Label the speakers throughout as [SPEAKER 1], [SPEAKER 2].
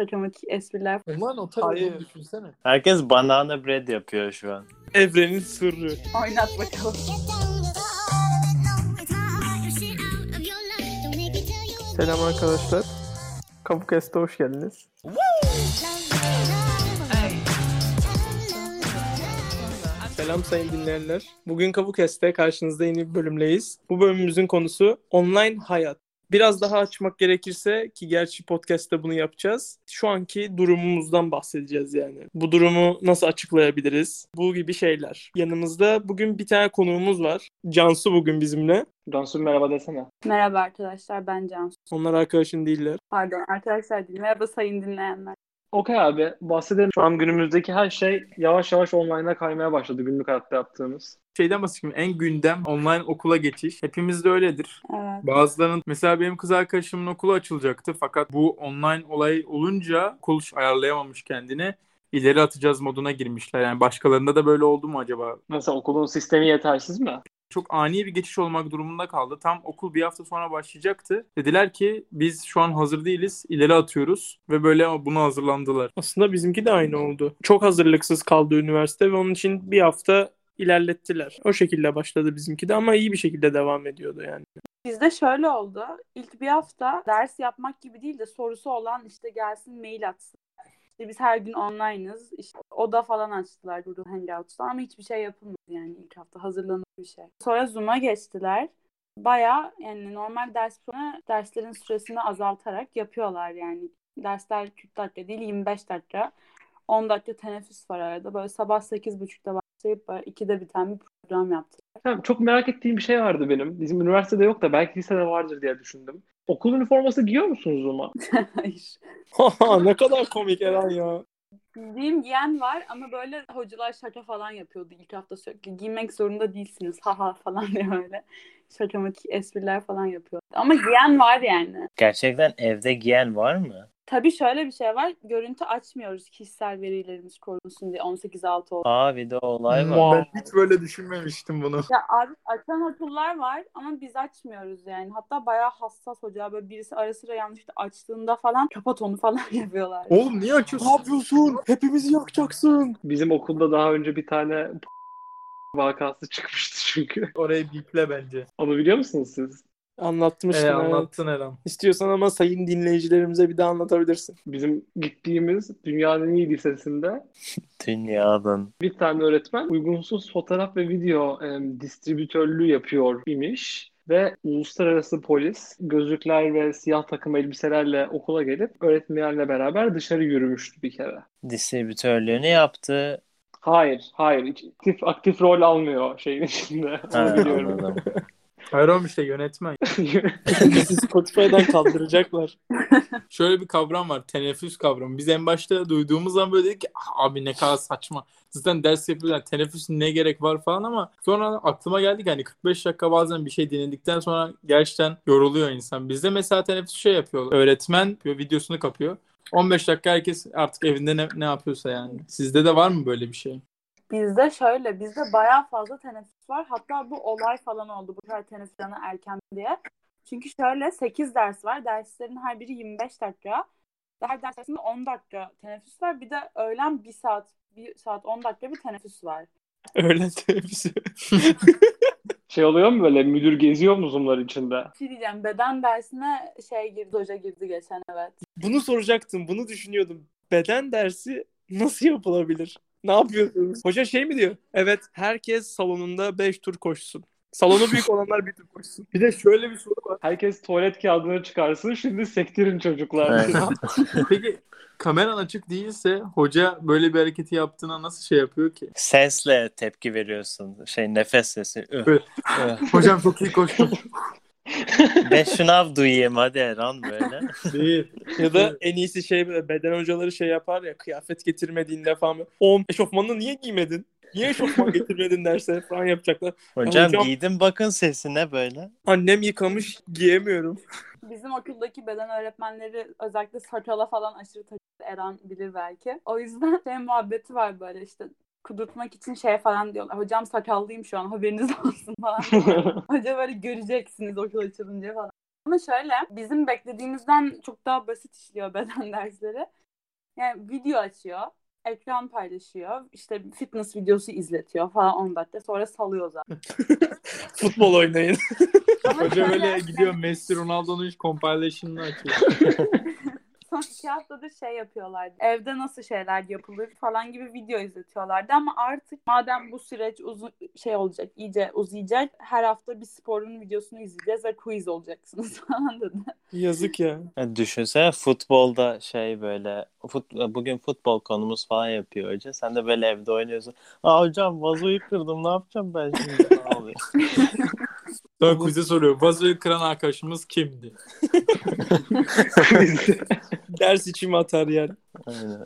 [SPEAKER 1] şakamak espriler.
[SPEAKER 2] Ulan o tabii
[SPEAKER 3] Hayır.
[SPEAKER 2] oğlum, düşünsene.
[SPEAKER 4] Herkes banana bread yapıyor şu an.
[SPEAKER 3] Evrenin sırrı.
[SPEAKER 1] Oynat bakalım.
[SPEAKER 3] Selam arkadaşlar. Kapukast'a hoş geldiniz. Selam sayın dinleyenler. Bugün Kapukast'te karşınızda yeni bir bölümleyiz. Bu bölümümüzün konusu online hayat. Biraz daha açmak gerekirse ki gerçi podcast'te bunu yapacağız. Şu anki durumumuzdan bahsedeceğiz yani. Bu durumu nasıl açıklayabiliriz? Bu gibi şeyler. Yanımızda bugün bir tane konuğumuz var. Cansu bugün bizimle.
[SPEAKER 5] Cansu merhaba desene.
[SPEAKER 1] Merhaba arkadaşlar ben Cansu.
[SPEAKER 3] Onlar arkadaşın değiller.
[SPEAKER 1] Pardon arkadaşlar değil. Merhaba sayın dinleyenler.
[SPEAKER 5] Okey abi bahsedelim. Şu an günümüzdeki her şey yavaş yavaş online'a kaymaya başladı günlük hayatta yaptığımız.
[SPEAKER 6] şeyden bahsedeyim. En gündem online okula geçiş. Hepimizde öyledir.
[SPEAKER 1] Evet.
[SPEAKER 6] Bazılarının mesela benim kız arkadaşımın okulu açılacaktı fakat bu online olay olunca okul ayarlayamamış kendini. İleri atacağız moduna girmişler. Yani başkalarında da böyle oldu mu acaba?
[SPEAKER 5] Mesela okulun sistemi yetersiz mi?
[SPEAKER 6] Çok ani bir geçiş olmak durumunda kaldı. Tam okul bir hafta sonra başlayacaktı. Dediler ki biz şu an hazır değiliz. İleri atıyoruz ve böyle ama buna hazırlandılar.
[SPEAKER 3] Aslında bizimki de aynı oldu. Çok hazırlıksız kaldı üniversite ve onun için bir hafta ilerlettiler. O şekilde başladı bizimki de ama iyi bir şekilde devam ediyordu yani.
[SPEAKER 1] Bizde şöyle oldu. İlk bir hafta ders yapmak gibi değil de sorusu olan işte gelsin mail atsın. İşte biz her gün online'ız. İşte oda falan açtılar Google Hangouts'ta ama hiçbir şey yapılmadı yani ilk hafta hazırlanır bir şey. Sonra Zoom'a geçtiler. Baya yani normal ders sonra derslerin süresini azaltarak yapıyorlar yani. Dersler 40 dakika değil 25 dakika. 10 dakika teneffüs var arada. Böyle sabah 8.30'da başlayıp böyle 2'de biten bir program yaptılar.
[SPEAKER 5] Tamam, çok merak ettiğim bir şey vardı benim. Bizim üniversitede yok da belki lisede vardır diye düşündüm. Okul üniforması giyiyor musunuz Zuma?
[SPEAKER 1] Hayır.
[SPEAKER 3] ne kadar komik Eren ya.
[SPEAKER 1] Bildiğim giyen var ama böyle hocalar şaka falan yapıyordu ilk hafta sürekli. Giymek zorunda değilsiniz haha falan diye böyle. Şakamatik espriler falan yapıyor. Ama giyen var yani.
[SPEAKER 4] Gerçekten evde giyen var mı?
[SPEAKER 1] Tabii şöyle bir şey var. Görüntü açmıyoruz kişisel verilerimiz korunsun diye 18 6 oldu.
[SPEAKER 4] Aa bir de olay var.
[SPEAKER 3] Muah.
[SPEAKER 6] Ben hiç böyle düşünmemiştim bunu.
[SPEAKER 1] Ya abi açan okullar var ama biz açmıyoruz yani. Hatta bayağı hassas hoca böyle birisi ara sıra yanlışlıkla açtığında falan kapat onu falan yapıyorlar.
[SPEAKER 6] Oğlum niye açıyorsun?
[SPEAKER 3] Ne yapıyorsun? Hepimizi yakacaksın.
[SPEAKER 5] Bizim okulda daha önce bir tane vakası çıkmıştı çünkü.
[SPEAKER 6] Orayı biple bence.
[SPEAKER 5] Onu biliyor musunuz siz?
[SPEAKER 3] Anlatmıştın.
[SPEAKER 6] Ee,
[SPEAKER 3] evet.
[SPEAKER 6] anlattın Eren.
[SPEAKER 3] İstiyorsan ama sayın dinleyicilerimize bir daha anlatabilirsin.
[SPEAKER 5] Bizim gittiğimiz dünyanın en iyi lisesinde
[SPEAKER 4] Dünyadan.
[SPEAKER 5] Bir tane öğretmen uygunsuz fotoğraf ve video e, distribütörlüğü yapıyor imiş ve uluslararası polis gözlükler ve siyah takım elbiselerle okula gelip öğretmenlerle beraber dışarı yürümüştü bir kere.
[SPEAKER 4] Distribütörlüğünü yaptı.
[SPEAKER 5] Hayır, hayır. Hiç aktif, aktif rol almıyor şeyin içinde.
[SPEAKER 4] Ha,
[SPEAKER 5] Onu biliyorum.
[SPEAKER 4] anladım.
[SPEAKER 6] Hayır oğlum işte yönetmen.
[SPEAKER 3] Bizi Spotify'dan kaldıracaklar.
[SPEAKER 6] Şöyle bir kavram var. Teneffüs kavramı. Biz en başta duyduğumuz zaman böyle dedik ki "Ah, abi ne kadar saçma. Zaten ders yapıyorlar. Teneffüsün ne gerek var falan ama sonra aklıma geldi ki hani 45 dakika bazen bir şey dinledikten sonra gerçekten yoruluyor insan. Bizde mesela teneffüs şey yapıyor. Öğretmen yapıyor, videosunu kapıyor. 15 dakika herkes artık evinde ne, ne yapıyorsa yani. Sizde de var mı böyle bir şey?
[SPEAKER 1] Bizde şöyle, bizde bayağı fazla teneffüs var. Hatta bu olay falan oldu. Bu kadar teneffüs planı erken diye. Çünkü şöyle 8 ders var. Derslerin her biri 25 dakika. Her ders arasında 10 dakika teneffüs var. Bir de öğlen 1 saat, 1 saat 10 dakika bir teneffüs var.
[SPEAKER 3] Öyle tepsi.
[SPEAKER 5] Şey oluyor mu böyle müdür geziyor mu Zoom'lar içinde?
[SPEAKER 1] Bir şey diyeceğim, beden dersine şey girdi, hoca girdi geçen evet.
[SPEAKER 3] Bunu soracaktım. Bunu düşünüyordum. Beden dersi nasıl yapılabilir? Ne yapıyorsunuz? Hoca şey mi diyor? Evet herkes salonunda 5 tur koşsun. Salonu büyük olanlar bir tur koşsun.
[SPEAKER 6] Bir de şöyle bir soru var.
[SPEAKER 5] Herkes tuvalet kağıdını çıkarsın şimdi sektirin çocuklar.
[SPEAKER 4] Evet.
[SPEAKER 6] Peki kameran açık değilse hoca böyle bir hareketi yaptığına nasıl şey yapıyor ki?
[SPEAKER 4] Sesle tepki veriyorsun. Şey nefes sesi. Üh,
[SPEAKER 6] Evet.
[SPEAKER 4] üh.
[SPEAKER 6] Hocam çok iyi koştum.
[SPEAKER 4] Ben şınav duyayım hadi Erhan böyle.
[SPEAKER 6] Değil.
[SPEAKER 3] Ya da en iyisi şey böyle beden hocaları şey yapar ya kıyafet getirmediğinde falan. Oğlum eşofmanını niye giymedin? Niye eşofman getirmedin derse falan yapacaklar.
[SPEAKER 4] Hocam
[SPEAKER 3] Hocam-
[SPEAKER 4] giydim bakın sesine böyle.
[SPEAKER 3] Annem yıkamış giyemiyorum.
[SPEAKER 1] Bizim okuldaki beden öğretmenleri özellikle sakala falan aşırı takıntı Eren bilir belki. O yüzden şey muhabbeti var böyle işte kudurtmak için şey falan diyorlar. Hocam sakallıyım şu an haberiniz olsun falan. Hoca böyle göreceksiniz okul açılınca falan. Ama şöyle bizim beklediğimizden çok daha basit işliyor beden dersleri. Yani video açıyor. Ekran paylaşıyor. işte fitness videosu izletiyor falan 10 dakika. Sonra salıyor zaten.
[SPEAKER 3] Futbol oynayın.
[SPEAKER 1] Ama
[SPEAKER 6] Hoca böyle
[SPEAKER 1] şöyle-
[SPEAKER 6] gidiyor Messi Ronaldo'nun hiç compilation'ını açıyor.
[SPEAKER 1] Son iki haftadır şey yapıyorlardı. Evde nasıl şeyler yapılır falan gibi video izletiyorlardı. Ama artık madem bu süreç uzun şey olacak, iyice uzayacak. Her hafta bir sporun videosunu izleyeceğiz ve quiz olacaksınız falan dedi.
[SPEAKER 3] Yazık ya.
[SPEAKER 4] Ya Düşünsene futbolda şey böyle fut, bugün futbol konumuz falan yapıyor hoca. Sen de böyle evde oynuyorsun. Aa hocam vazoyu kırdım ne yapacağım ben şimdi? Ne oluyor?
[SPEAKER 6] Sonra kuze soruyor. Vazoyu kıran arkadaşımız kimdi?
[SPEAKER 3] Ders içimi atar yani.
[SPEAKER 4] Aynen.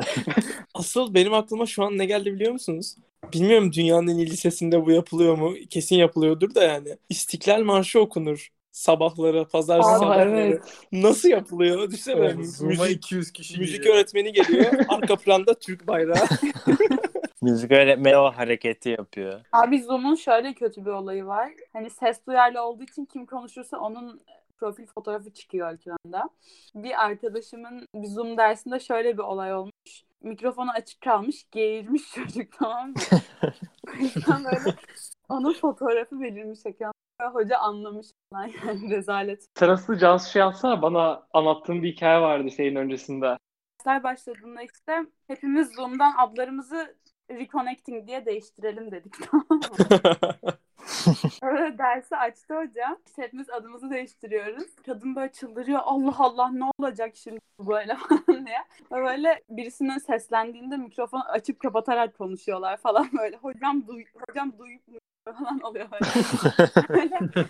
[SPEAKER 3] Asıl benim aklıma şu an ne geldi biliyor musunuz? Bilmiyorum dünyanın en iyi lisesinde bu yapılıyor mu? Kesin yapılıyordur da yani. İstiklal Marşı okunur sabahları, pazar
[SPEAKER 5] Aa
[SPEAKER 3] sabahları.
[SPEAKER 5] evet.
[SPEAKER 3] Nasıl yapılıyor? Düşünsene
[SPEAKER 6] Evet, Zoom'a
[SPEAKER 3] müzik,
[SPEAKER 6] 200 kişi
[SPEAKER 3] müzik
[SPEAKER 6] giriyor.
[SPEAKER 3] öğretmeni geliyor. Arka planda Türk bayrağı.
[SPEAKER 4] Müzik öğretmeni o hareketi yapıyor.
[SPEAKER 1] Abi Zoom'un şöyle kötü bir olayı var. Hani ses duyarlı olduğu için kim konuşursa onun e, profil fotoğrafı çıkıyor ekranda. Bir arkadaşımın bir Zoom dersinde şöyle bir olay olmuş. Mikrofonu açık kalmış, geğirmiş çocuk tamam mı? O yüzden böyle onun fotoğrafı belirmiş ekranda. Hoca anlamış falan yani rezalet.
[SPEAKER 5] Sırası Cansu şey yapsana bana anlattığım bir hikaye vardı şeyin öncesinde.
[SPEAKER 1] Dersler başladığında işte hepimiz Zoom'dan adlarımızı reconnecting diye değiştirelim dedik tamam mı? Öyle dersi açtı hocam. İşte hepimiz adımızı değiştiriyoruz. Kadın böyle çıldırıyor. Allah Allah ne olacak şimdi bu böyle falan diye. Böyle birisinin seslendiğinde mikrofonu açıp kapatarak konuşuyorlar falan böyle. Hocam, duy hocam duyup mu falan oluyor böyle. böyle kadın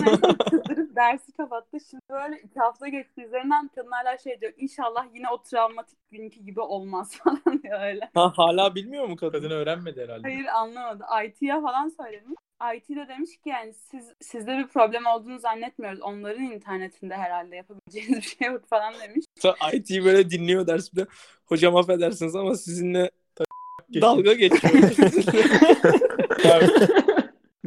[SPEAKER 1] en son çıldırıp dersi kapattı. Şimdi böyle iki hafta geçti üzerinden kadın hala şey diyor. İnşallah yine o travmatik günkü gibi olmaz falan diyor öyle.
[SPEAKER 3] ha, hala bilmiyor mu kadın?
[SPEAKER 6] Kadın öğrenmedi herhalde.
[SPEAKER 1] Hayır anlamadı. IT'ye falan söylemiş. IT de demiş ki yani siz sizde bir problem olduğunu zannetmiyoruz. Onların internetinde herhalde yapabileceğiniz bir şey yok falan demiş.
[SPEAKER 3] Ta- IT böyle dinliyor ders bir de. Hocam affedersiniz ama sizinle
[SPEAKER 6] Geçin.
[SPEAKER 3] dalga geçiyor.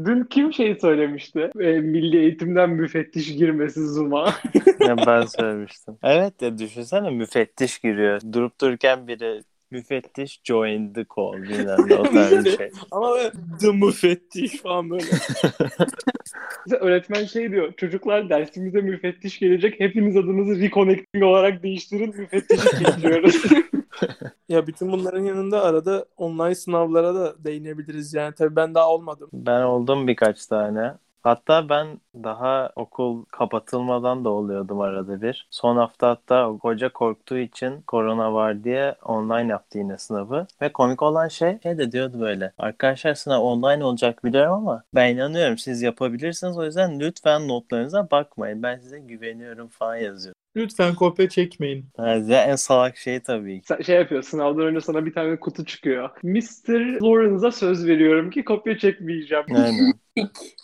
[SPEAKER 5] Dün kim şey söylemişti? E, milli eğitimden müfettiş girmesi Zoom'a.
[SPEAKER 4] Ya ben söylemiştim. Evet ya düşünsene müfettiş giriyor. Durup dururken biri müfettiş joined the call bilmem ne o tarz bir şey.
[SPEAKER 3] Ama böyle the müfettiş falan böyle.
[SPEAKER 5] Bize öğretmen şey diyor. Çocuklar dersimize müfettiş gelecek. Hepiniz adınızı reconnecting olarak değiştirin. Müfettiş getiriyoruz.
[SPEAKER 3] ya bütün bunların yanında arada online sınavlara da değinebiliriz yani. Tabii ben daha olmadım.
[SPEAKER 4] Ben oldum birkaç tane. Hatta ben daha okul kapatılmadan da oluyordum arada bir. Son hafta hatta hoca korktuğu için korona var diye online yaptı yine sınavı. Ve komik olan şey, şey de diyordu böyle. Arkadaşlar sınav online olacak biliyorum ama ben inanıyorum siz yapabilirsiniz. O yüzden lütfen notlarınıza bakmayın. Ben size güveniyorum falan yazıyor.
[SPEAKER 6] Lütfen kopya çekmeyin.
[SPEAKER 4] Yani en salak şey tabii ki.
[SPEAKER 5] Sen şey yapıyor. Sınavdan önce sana bir tane kutu çıkıyor. Mr. Lawrence'a söz veriyorum ki kopya çekmeyeceğim.
[SPEAKER 4] Aynen.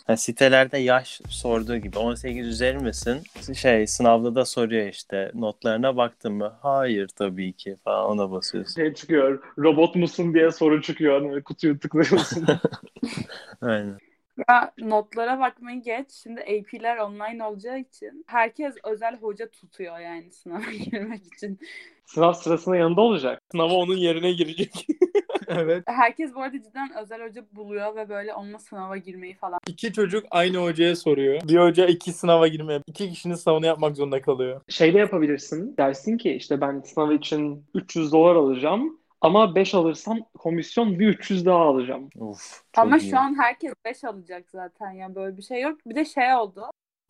[SPEAKER 4] Ha, sitelerde yaş sorduğu gibi 18 üzeri misin? Şey sınavda da soruyor işte notlarına baktın mı? Hayır tabii ki falan ona basıyorsun.
[SPEAKER 5] şey çıkıyor. Robot musun diye soru çıkıyor. Hani kutuyu tıklıyorsun.
[SPEAKER 4] Aynen.
[SPEAKER 1] Ya notlara bakmayı geç. Şimdi AP'ler online olacağı için herkes özel hoca tutuyor yani sınava girmek için.
[SPEAKER 5] Sınav sırasında yanında olacak.
[SPEAKER 3] Sınava onun yerine girecek.
[SPEAKER 6] Evet.
[SPEAKER 1] Herkes bu arada cidden özel hoca buluyor ve böyle onunla sınava girmeyi falan.
[SPEAKER 6] İki çocuk aynı hocaya soruyor. Bir hoca iki sınava girmeye, iki kişinin sınavını yapmak zorunda kalıyor.
[SPEAKER 5] Şey de yapabilirsin. Dersin ki işte ben sınav için 300 dolar alacağım. Ama 5 alırsam komisyon bir 300 daha alacağım.
[SPEAKER 4] Uf, çok
[SPEAKER 1] Ama
[SPEAKER 4] iyi.
[SPEAKER 1] şu an herkes 5 alacak zaten yani böyle bir şey yok. Bir de şey oldu.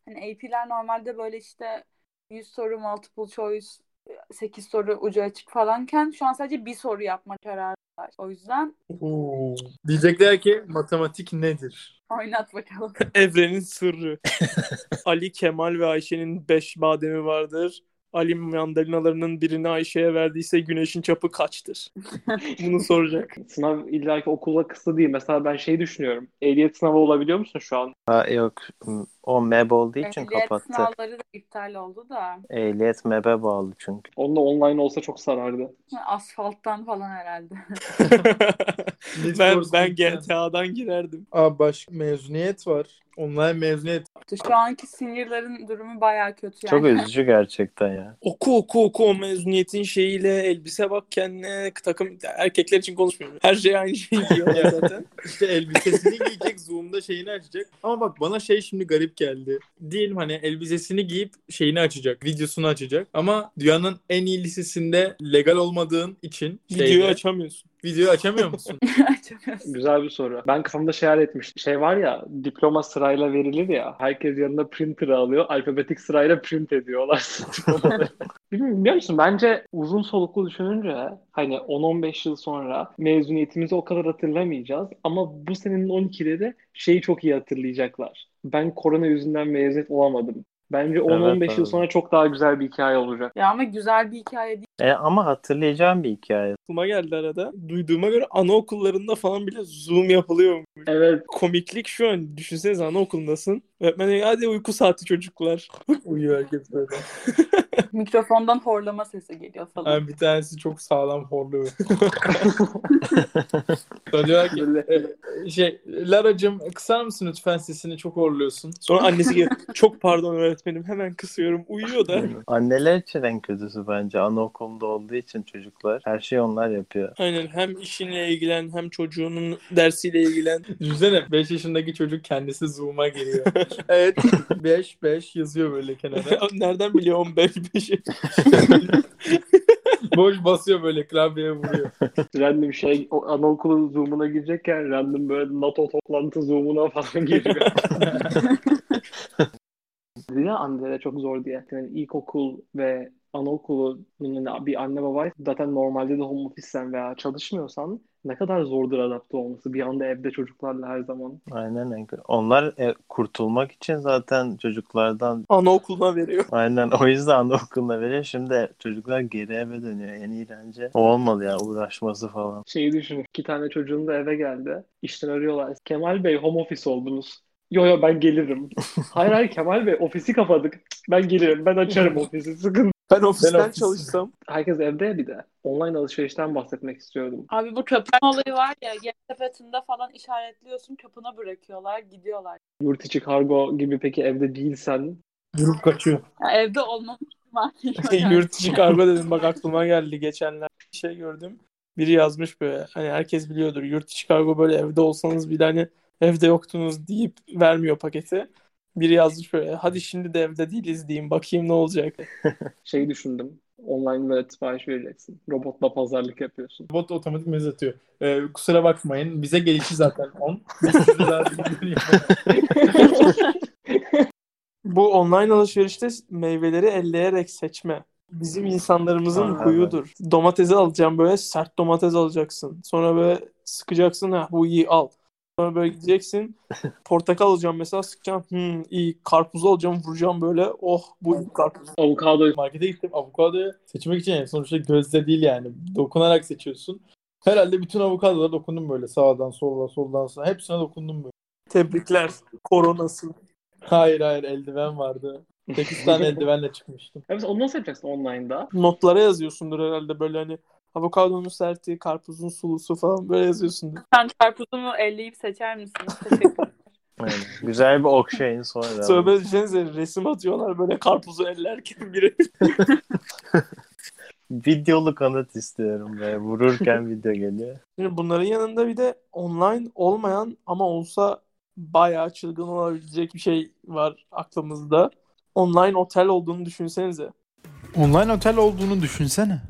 [SPEAKER 1] Hani AP'ler normalde böyle işte 100 soru multiple choice 8 soru ucu açık falanken şu an sadece bir soru yapma kararı var. O yüzden
[SPEAKER 6] Diyecekler ki matematik nedir?
[SPEAKER 1] oynat bakalım.
[SPEAKER 3] Evrenin sırrı. Ali, Kemal ve Ayşe'nin beş bademi vardır. Ali mandalinalarının birini Ayşe'ye verdiyse güneşin çapı kaçtır? Bunu soracak.
[SPEAKER 5] Sınav illaki okulla kısıtlı değil. Mesela ben şey düşünüyorum. Ehliyet sınavı olabiliyor musun şu an?
[SPEAKER 4] Ha, yok o MEB olduğu Şey için
[SPEAKER 1] Ehliyet
[SPEAKER 4] kapattı.
[SPEAKER 1] sınavları da iptal oldu da.
[SPEAKER 4] Ehliyet MEB'e bağlı çünkü.
[SPEAKER 5] Onunla online olsa çok sarardı.
[SPEAKER 1] Asfalttan falan herhalde.
[SPEAKER 6] Need
[SPEAKER 3] ben
[SPEAKER 6] for
[SPEAKER 3] ben
[SPEAKER 6] Speed'den.
[SPEAKER 3] GTA'dan girerdim.
[SPEAKER 6] Aa, başka mezuniyet var. Online mezuniyet.
[SPEAKER 1] yoktu. Şu anki seniorların durumu bayağı kötü yani.
[SPEAKER 4] Çok üzücü gerçekten ya.
[SPEAKER 3] Oku oku oku o mezuniyetin şeyiyle elbise bak kendine takım erkekler için konuşmuyorum. Her şey aynı şey giyiyorlar zaten.
[SPEAKER 6] İşte elbisesini giyecek, Zoom'da şeyini açacak. Ama bak bana şey şimdi garip geldi. Diyelim hani elbisesini giyip şeyini açacak, videosunu açacak. Ama dünyanın en iyi lisesinde legal olmadığın için
[SPEAKER 3] Videoyu
[SPEAKER 6] şeyde-
[SPEAKER 3] açamıyorsun.
[SPEAKER 6] videoyu açamıyor musun?
[SPEAKER 1] Açamıyorsun.
[SPEAKER 5] Güzel bir soru. Ben kafamda şey hayal etmiştim. Şey var ya diploma sırayla verilir ya. Herkes yanında printer alıyor. Alfabetik sırayla print ediyorlar. Bilmiyorum biliyor musun? Bence uzun soluklu düşününce hani 10-15 yıl sonra mezuniyetimizi o kadar hatırlamayacağız. Ama bu senenin 12'de de şeyi çok iyi hatırlayacaklar. Ben korona yüzünden mezun olamadım. Bence 10-15
[SPEAKER 4] Evet
[SPEAKER 5] yıl
[SPEAKER 4] abi.
[SPEAKER 5] sonra çok daha güzel bir hikaye olacak.
[SPEAKER 1] Ya ama güzel bir hikaye değil.
[SPEAKER 4] E, ama hatırlayacağım bir hikaye.
[SPEAKER 3] Aklıma geldi arada. Duyduğuma göre anaokullarında falan bile zoom yapılıyor.
[SPEAKER 5] Evet.
[SPEAKER 3] Komiklik şu an. Düşünsenize anaokulundasın. Öğretmen diyor, hadi uyku saati çocuklar.
[SPEAKER 6] Uyuyor herkes böyle.
[SPEAKER 1] Mikrofondan horlama sesi geliyor falan.
[SPEAKER 6] Yani bir tanesi çok sağlam horluyor. Sonra diyorlar ki
[SPEAKER 5] Böyle-
[SPEAKER 6] şey Lara'cığım kısar mısın lütfen sesini çok horluyorsun.
[SPEAKER 3] Sonra annesi geliyor. Çok pardon öğretmenim hemen kısıyorum. Uyuyor da.
[SPEAKER 4] Anneler için en kötüsü bence. Anaokulunda olduğu için çocuklar. Her şeyi onlar yapıyor.
[SPEAKER 3] Aynen hem işinle ilgilen hem çocuğunun dersiyle ilgilen.
[SPEAKER 6] Düşünsene 5 yaşındaki çocuk kendisi Zoom'a giriyor. evet 5 5 yazıyor böyle kenara.
[SPEAKER 3] Nereden biliyorum ben bir şey.
[SPEAKER 6] Boş basıyor böyle klavyeye vuruyor.
[SPEAKER 5] random şey o anaokulu zoom'una girecekken random böyle NATO toplantı zoom'una falan giriyor. Dedi ya Andere çok zor diye. Yani ilkokul ve anaokulu yani bir anne baba zaten normalde de home office'sen veya çalışmıyorsan ne kadar zordur adapte olması bir anda evde çocuklarla her zaman.
[SPEAKER 4] Aynen. en kötü. Onlar e, kurtulmak için zaten çocuklardan
[SPEAKER 3] Anaokuluna veriyor.
[SPEAKER 4] Aynen o yüzden anaokuluna veriyor. Şimdi çocuklar geri eve dönüyor. En iğrenci o olmalı ya uğraşması falan.
[SPEAKER 5] Şeyi düşün iki tane çocuğun da eve geldi. İşten arıyorlar. Kemal Bey home office oldunuz. Yo yo ben gelirim. hayır hayır Kemal Bey ofisi kapadık. Cık, Ben gelirim ben açarım ofisi sıkıntı.
[SPEAKER 3] Ben ofisten
[SPEAKER 6] ofis-
[SPEAKER 3] çalışsam.
[SPEAKER 5] herkes evde ya bir de. Online alışverişten bahsetmek istiyordum.
[SPEAKER 1] Abi bu köpen olayı var ya yem sepetinde falan işaretliyorsun kapına bırakıyorlar gidiyorlar.
[SPEAKER 5] Yurt içi kargo gibi peki evde değilsen
[SPEAKER 3] Durup kaçıyor.
[SPEAKER 1] Ya evde olmam ihtimali yok yani.
[SPEAKER 3] Şey, Yurt içi kargo dedim bak aklıma geldi geçenler bir şey gördüm. Biri yazmış böyle hani herkes biliyordur yurt içi kargo böyle evde olsanız bir hani evde yoktunuz deyip vermiyor paketi. Biri yazmış böyle hadi şimdi de evde değiliz diyeyim bakayım ne olacak.
[SPEAKER 5] şey düşündüm. Online böyle sipariş vereceksin. Robotla pazarlık yapıyorsun.
[SPEAKER 6] Bot otomatik mesaj atıyor. Ee, kusura bakmayın bize gelişi zaten 10. Biz sizi zaten biliyoruz.
[SPEAKER 3] Bu online alışverişte meyveleri elleyerek seçme. Bizim insanlarımızın
[SPEAKER 4] Aha.
[SPEAKER 3] huyudur. Domatesi alacağım böyle sert domates alacaksın. Sonra böyle sıkacaksın ha bu iyi al. Sonra böyle gideceksin portakal alacağım mesela sıkacağım hmm, iyi karpuz alacağım vuracağım böyle oh bu iyi karpuz.
[SPEAKER 5] Avokado
[SPEAKER 6] Markete gittim avokadoyu seçmek için yani sonuçta gözle değil yani dokunarak seçiyorsun. Herhalde bütün avokadolara dokundum böyle sağdan soldan soldan sağa hepsine dokundum böyle.
[SPEAKER 3] Tebrikler koronası.
[SPEAKER 6] Hayır hayır eldiven vardı. 8 tane eldivenle çıkmıştım.
[SPEAKER 5] Evet, onu nasıl yapacaksın online'da?
[SPEAKER 3] Notlara yazıyorsundur herhalde böyle hani avokadonun serti, karpuzun sulusu falan böyle yazıyorsundur.
[SPEAKER 1] Sen karpuzumu elleyip seçer misin? Teşekkür ederim.
[SPEAKER 4] Aynen. Güzel bir okşayın sonra.
[SPEAKER 3] Sonra böyle düşünsenize resim atıyorlar böyle karpuzu ellerken biri.
[SPEAKER 4] Videolu kanıt istiyorum be. Vururken video geliyor.
[SPEAKER 3] Şimdi bunların yanında bir de online olmayan ama olsa bayağı çılgın olabilecek bir şey var aklımızda. Online otel olduğunu düşünsenize.
[SPEAKER 2] Online otel olduğunu düşünsene.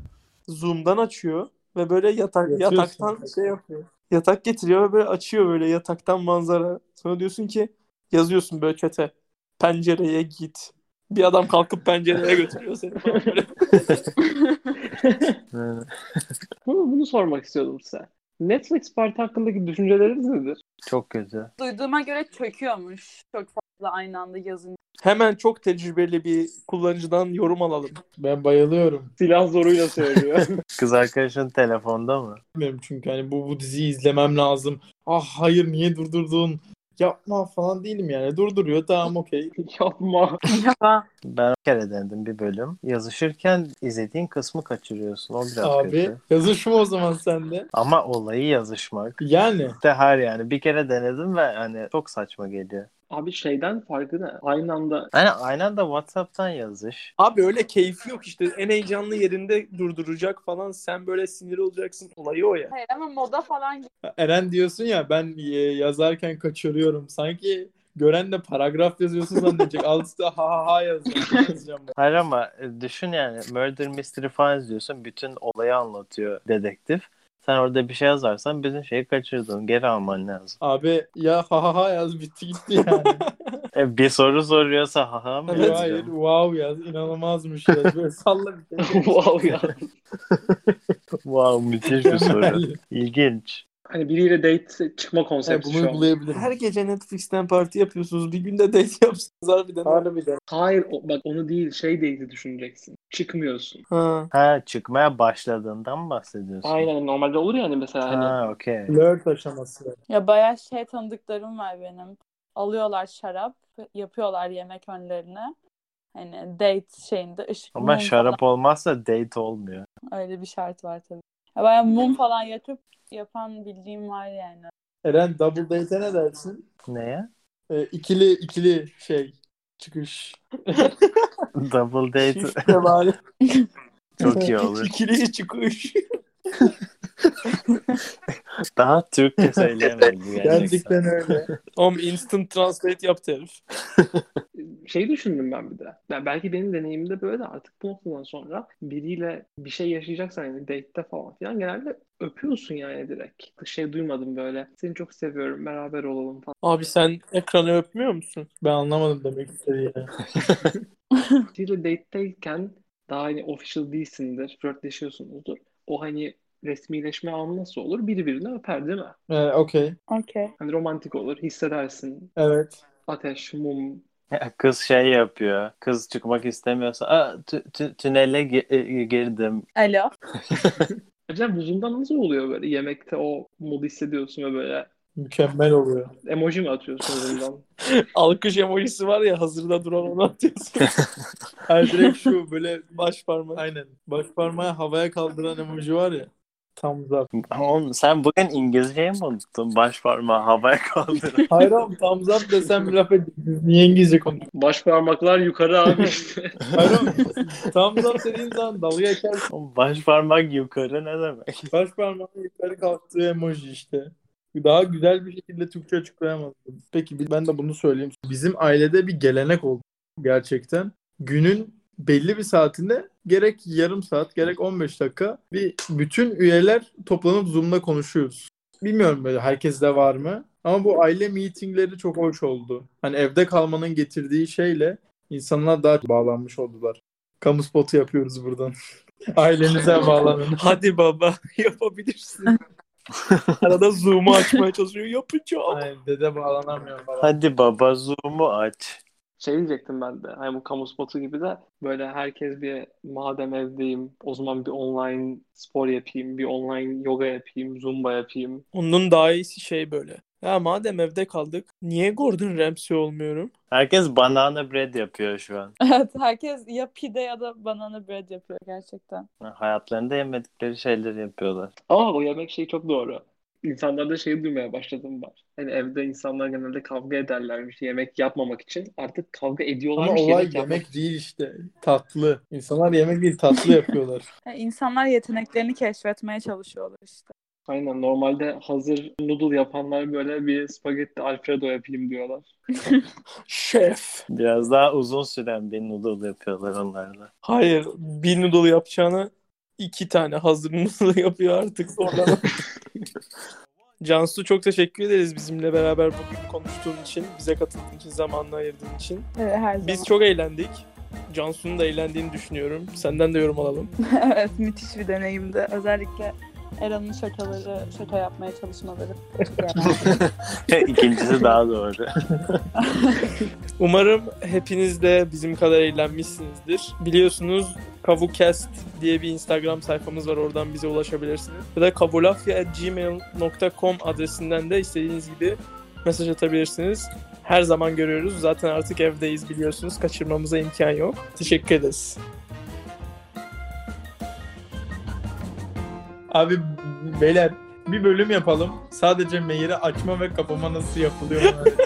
[SPEAKER 3] Zoom'dan açıyor ve böyle yatak
[SPEAKER 6] Yatıyorsun.
[SPEAKER 3] yataktan şey yapıyor. Yatak getiriyor ve böyle açıyor böyle yataktan manzara. Sonra diyorsun ki yazıyorsun böyle çete. Pencereye git. Bir adam kalkıp pencereye götürüyor seni. falan böyle.
[SPEAKER 4] Aynen.
[SPEAKER 5] Bunu, bunu sormak istiyordum size. Netflix parti hakkındaki düşünceleriniz nedir?
[SPEAKER 4] Çok kötü.
[SPEAKER 1] Duyduğuma göre çöküyormuş. Çok fazla aynı anda yazın.
[SPEAKER 3] Hemen çok tecrübeli bir kullanıcıdan yorum alalım.
[SPEAKER 6] Ben bayılıyorum.
[SPEAKER 5] Silah zoruyla söylüyor.
[SPEAKER 4] Kız arkadaşın telefonda mı?
[SPEAKER 6] Bilmiyorum çünkü hani bu, bu diziyi izlemem lazım. Ah hayır niye durdurdun? Yapma falan değilim yani. Durduruyor tamam okey.
[SPEAKER 5] Yapma.
[SPEAKER 1] Ya.
[SPEAKER 4] Ben bir kere denedim bir bölüm. Yazışırken izlediğin kısmı kaçırıyorsun. O biraz
[SPEAKER 6] Abi
[SPEAKER 4] kötü.
[SPEAKER 6] yazışma o zaman sende.
[SPEAKER 4] Ama olayı yazışmak.
[SPEAKER 6] Yani
[SPEAKER 4] De her yani. Bir kere denedim ve hani çok saçma geliyor.
[SPEAKER 5] Abi şeyden farkı ne? Aynı anda
[SPEAKER 4] Aynen, aynen da WhatsApp'tan yazış.
[SPEAKER 3] Abi öyle keyfi yok işte. En heyecanlı yerinde durduracak falan. Sen böyle sinir olacaksın. Olayı o ya.
[SPEAKER 1] Hayır ama moda falan gibi.
[SPEAKER 6] Eren diyorsun ya ben e, yazarken kaçırıyorum. Sanki gören de paragraf yazıyorsun zannedecek. Alt üstte ha ha ha yazıyor. yazacağım ben.
[SPEAKER 4] Hayır ama e, düşün yani Murder Mystery falan izliyorsun. Bütün olayı anlatıyor dedektif. Sen orada bir şey yazarsan bütün şeyi kaçırdın. Geri alman lazım.
[SPEAKER 6] Abi ya ha ha ha yaz bitti gitti yani.
[SPEAKER 4] E, bir soru soruyorsa haha mı
[SPEAKER 6] Hayır,
[SPEAKER 4] yazacaksın?
[SPEAKER 6] hayır wow yaz inanılmazmış yaz. Böyle salla bir şey.
[SPEAKER 5] wow ya.
[SPEAKER 4] Wow müthiş bir soru. İlginç.
[SPEAKER 5] Hani biriyle date çıkma
[SPEAKER 6] Yani
[SPEAKER 5] konsepti şu
[SPEAKER 6] bunu
[SPEAKER 5] an.
[SPEAKER 6] bulayabilirim.
[SPEAKER 3] Her gece Netflix'ten parti yapıyorsunuz. Bir günde date yapsanız harbiden. Harbiden.
[SPEAKER 5] Hayır o- bak onu değil şey date'i düşüneceksin. Çıkmıyorsun.
[SPEAKER 3] Ha.
[SPEAKER 4] Ha çıkmaya başladığından mı bahsediyorsun?
[SPEAKER 5] Aynen normalde olur ya hani mesela hani
[SPEAKER 4] Ha okey.
[SPEAKER 6] Flört aşaması.
[SPEAKER 1] Ya bayağı şey tanıdıklarım var benim. Alıyorlar şarap, yapıyorlar yemek önlerine. Hani date şeyinde ışık
[SPEAKER 4] Ama
[SPEAKER 1] mum
[SPEAKER 4] şarap olmazsa date olmuyor.
[SPEAKER 1] falan. Öyle bir şart var tabii. Ya bayağı mum falan yakıp yapan bildiğim var yani.
[SPEAKER 6] Eren double date'e ne dersin?
[SPEAKER 4] Neye?
[SPEAKER 6] E, ikili ikili şey çıkış.
[SPEAKER 4] Double
[SPEAKER 3] Şey-
[SPEAKER 4] date
[SPEAKER 6] Çift de bari.
[SPEAKER 4] çok iyi olur.
[SPEAKER 6] İkili çıkış.
[SPEAKER 4] Daha Türkçe söyleyemedim gerçekten.
[SPEAKER 6] Gerçekten öyle.
[SPEAKER 3] Oğlum instant translate yaptı herif.
[SPEAKER 5] şey düşündüm ben bir de. Ya belki benim deneyimimde böyle de artık bu noktadan sonra biriyle bir şey yaşayacaksan yani date'te falan filan genelde öpüyorsun yani direkt. Şey duymadım böyle. Seni çok seviyorum beraber olalım falan.
[SPEAKER 3] Abi sen ekranı öpmüyor musun?
[SPEAKER 6] Ben anlamadım demek istediğini.
[SPEAKER 5] Biriyle date'teyken daha hani official değilsindir. Flörtleşiyorsunuzdur. O hani resmileşme anı nasıl olur? Biri birini öper değil mi?
[SPEAKER 6] E, Okey.
[SPEAKER 1] Okey.
[SPEAKER 5] Hani romantik olur. Hissedersin.
[SPEAKER 6] Evet.
[SPEAKER 5] Ateş, mum.
[SPEAKER 4] Ya Kız şey yapıyor. Kız çıkmak istemiyorsa Aa, tü- tü- tünele gi- e, girdim.
[SPEAKER 1] Alo.
[SPEAKER 5] Acaba buzundan nasıl oluyor böyle? Yemekte o modu hissediyorsun ve böyle
[SPEAKER 6] Mükemmel oluyor.
[SPEAKER 5] emoji mi atıyorsun bundan?
[SPEAKER 3] Alkış emojisi var ya hazırda duran onu atıyorsun.
[SPEAKER 6] Hayır direkt şu böyle
[SPEAKER 3] Baş parmağı.
[SPEAKER 6] aynen. Baş parmağı havaya kaldıran emoji var ya. Tam zap.
[SPEAKER 4] Oğlum sen bugün İngilizceyi mi unuttun? Baş parmağı havaya kaldırın.
[SPEAKER 6] Hayır oğlum tam zap desem bir laf edeceksiniz. Niye İngilizce konuşuyorsun?
[SPEAKER 5] Baş parmaklar yukarı abi.
[SPEAKER 6] Hayır oğlum tam zap dediğin zaman dalga geçer.
[SPEAKER 4] Oğlum, Baş parmak yukarı ne demek?
[SPEAKER 6] Baş parmağın yukarı kalktığı emoji işte. Daha güzel bir şekilde Türkçe açıklayamazdım. Peki bir- ben de bunu söyleyeyim. Bizim ailede bir gelenek oldu gerçekten. Günün belli bir saatinde gerek yarım saat gerek 15 dakika bir bütün üyeler toplanıp Zoom'da konuşuyoruz. Bilmiyorum böyle herkeste var mı? Ama bu aile meetingleri çok hoş oldu. Hani evde kalmanın getirdiği şeyle insanlar daha bağlanmış oldular. Kamu spotu yapıyoruz buradan. Ailenize bağlanın.
[SPEAKER 3] Hadi baba yapabilirsin. Arada zoom'u açmaya çalışıyor. Yapacağım.
[SPEAKER 6] Aynen dede bağlanamıyor falan.
[SPEAKER 4] Hadi baba zoom'u aç.
[SPEAKER 5] Şey diyecektim ben de. Hani bu kamu spotu gibi de böyle herkes bir madem evdeyim o zaman bir online spor yapayım, bir online yoga yapayım, zumba yapayım.
[SPEAKER 3] Onun daha iyisi şey böyle. Ya madem evde kaldık niye Gordon Ramsay olmuyorum?
[SPEAKER 4] Herkes banana bread yapıyor şu an.
[SPEAKER 1] Evet herkes ya pide ya da banana bread yapıyor gerçekten.
[SPEAKER 4] Hayatlarında yemedikleri şeyleri yapıyorlar.
[SPEAKER 5] Ama o yemek şeyi çok doğru. İnsanlarda şeyi duymaya başladım ben. Hani evde insanlar genelde kavga ederlermiş yemek yapmamak için. Artık kavga
[SPEAKER 6] Ama olay
[SPEAKER 5] ediyorlarmış yemek yapmak
[SPEAKER 6] yemek değil işte. Tatlı. İnsanlar yemek değil tatlı yapıyorlar.
[SPEAKER 1] Yani insanlar yeteneklerini keşfetmeye çalışıyorlar işte.
[SPEAKER 5] Aynen normalde hazır noodle yapanlar böyle bir spagetti alfredo yapayım diyorlar.
[SPEAKER 3] Şef.
[SPEAKER 4] Biraz daha uzun süren bir noodle yapıyorlar onlarla.
[SPEAKER 3] Hayır bir noodle yapacağına iki tane hazır noodle yapıyor artık sonra. Cansu çok teşekkür ederiz bizimle beraber bugün konuştuğun için, bize katıldığın için, zamanını ayırdığın için.
[SPEAKER 1] Evet, Ee, her zaman.
[SPEAKER 3] Biz çok eğlendik. Cansu'nun da eğlendiğini düşünüyorum. Senden de yorum alalım.
[SPEAKER 1] evet müthiş bir deneyimdi. Özellikle Eran'ın şakaları, şaka yapmaya çalışmaları. Çok eğlenceli.
[SPEAKER 4] İkincisi daha doğru.
[SPEAKER 3] Umarım hepiniz de bizim kadar eğlenmişsinizdir. Biliyorsunuz Kavukast diye bir Instagram sayfamız var. Oradan bize ulaşabilirsiniz. Ya da kavulafya.gmail.com adresinden de istediğiniz gibi mesaj atabilirsiniz. Her zaman görüyoruz. Zaten artık evdeyiz biliyorsunuz. Kaçırmamıza imkan yok. Teşekkür ederiz.
[SPEAKER 6] Abi beyler bir bölüm yapalım. Sadece meyiri açma ve kapama nasıl yapılıyor. onu öğretelim.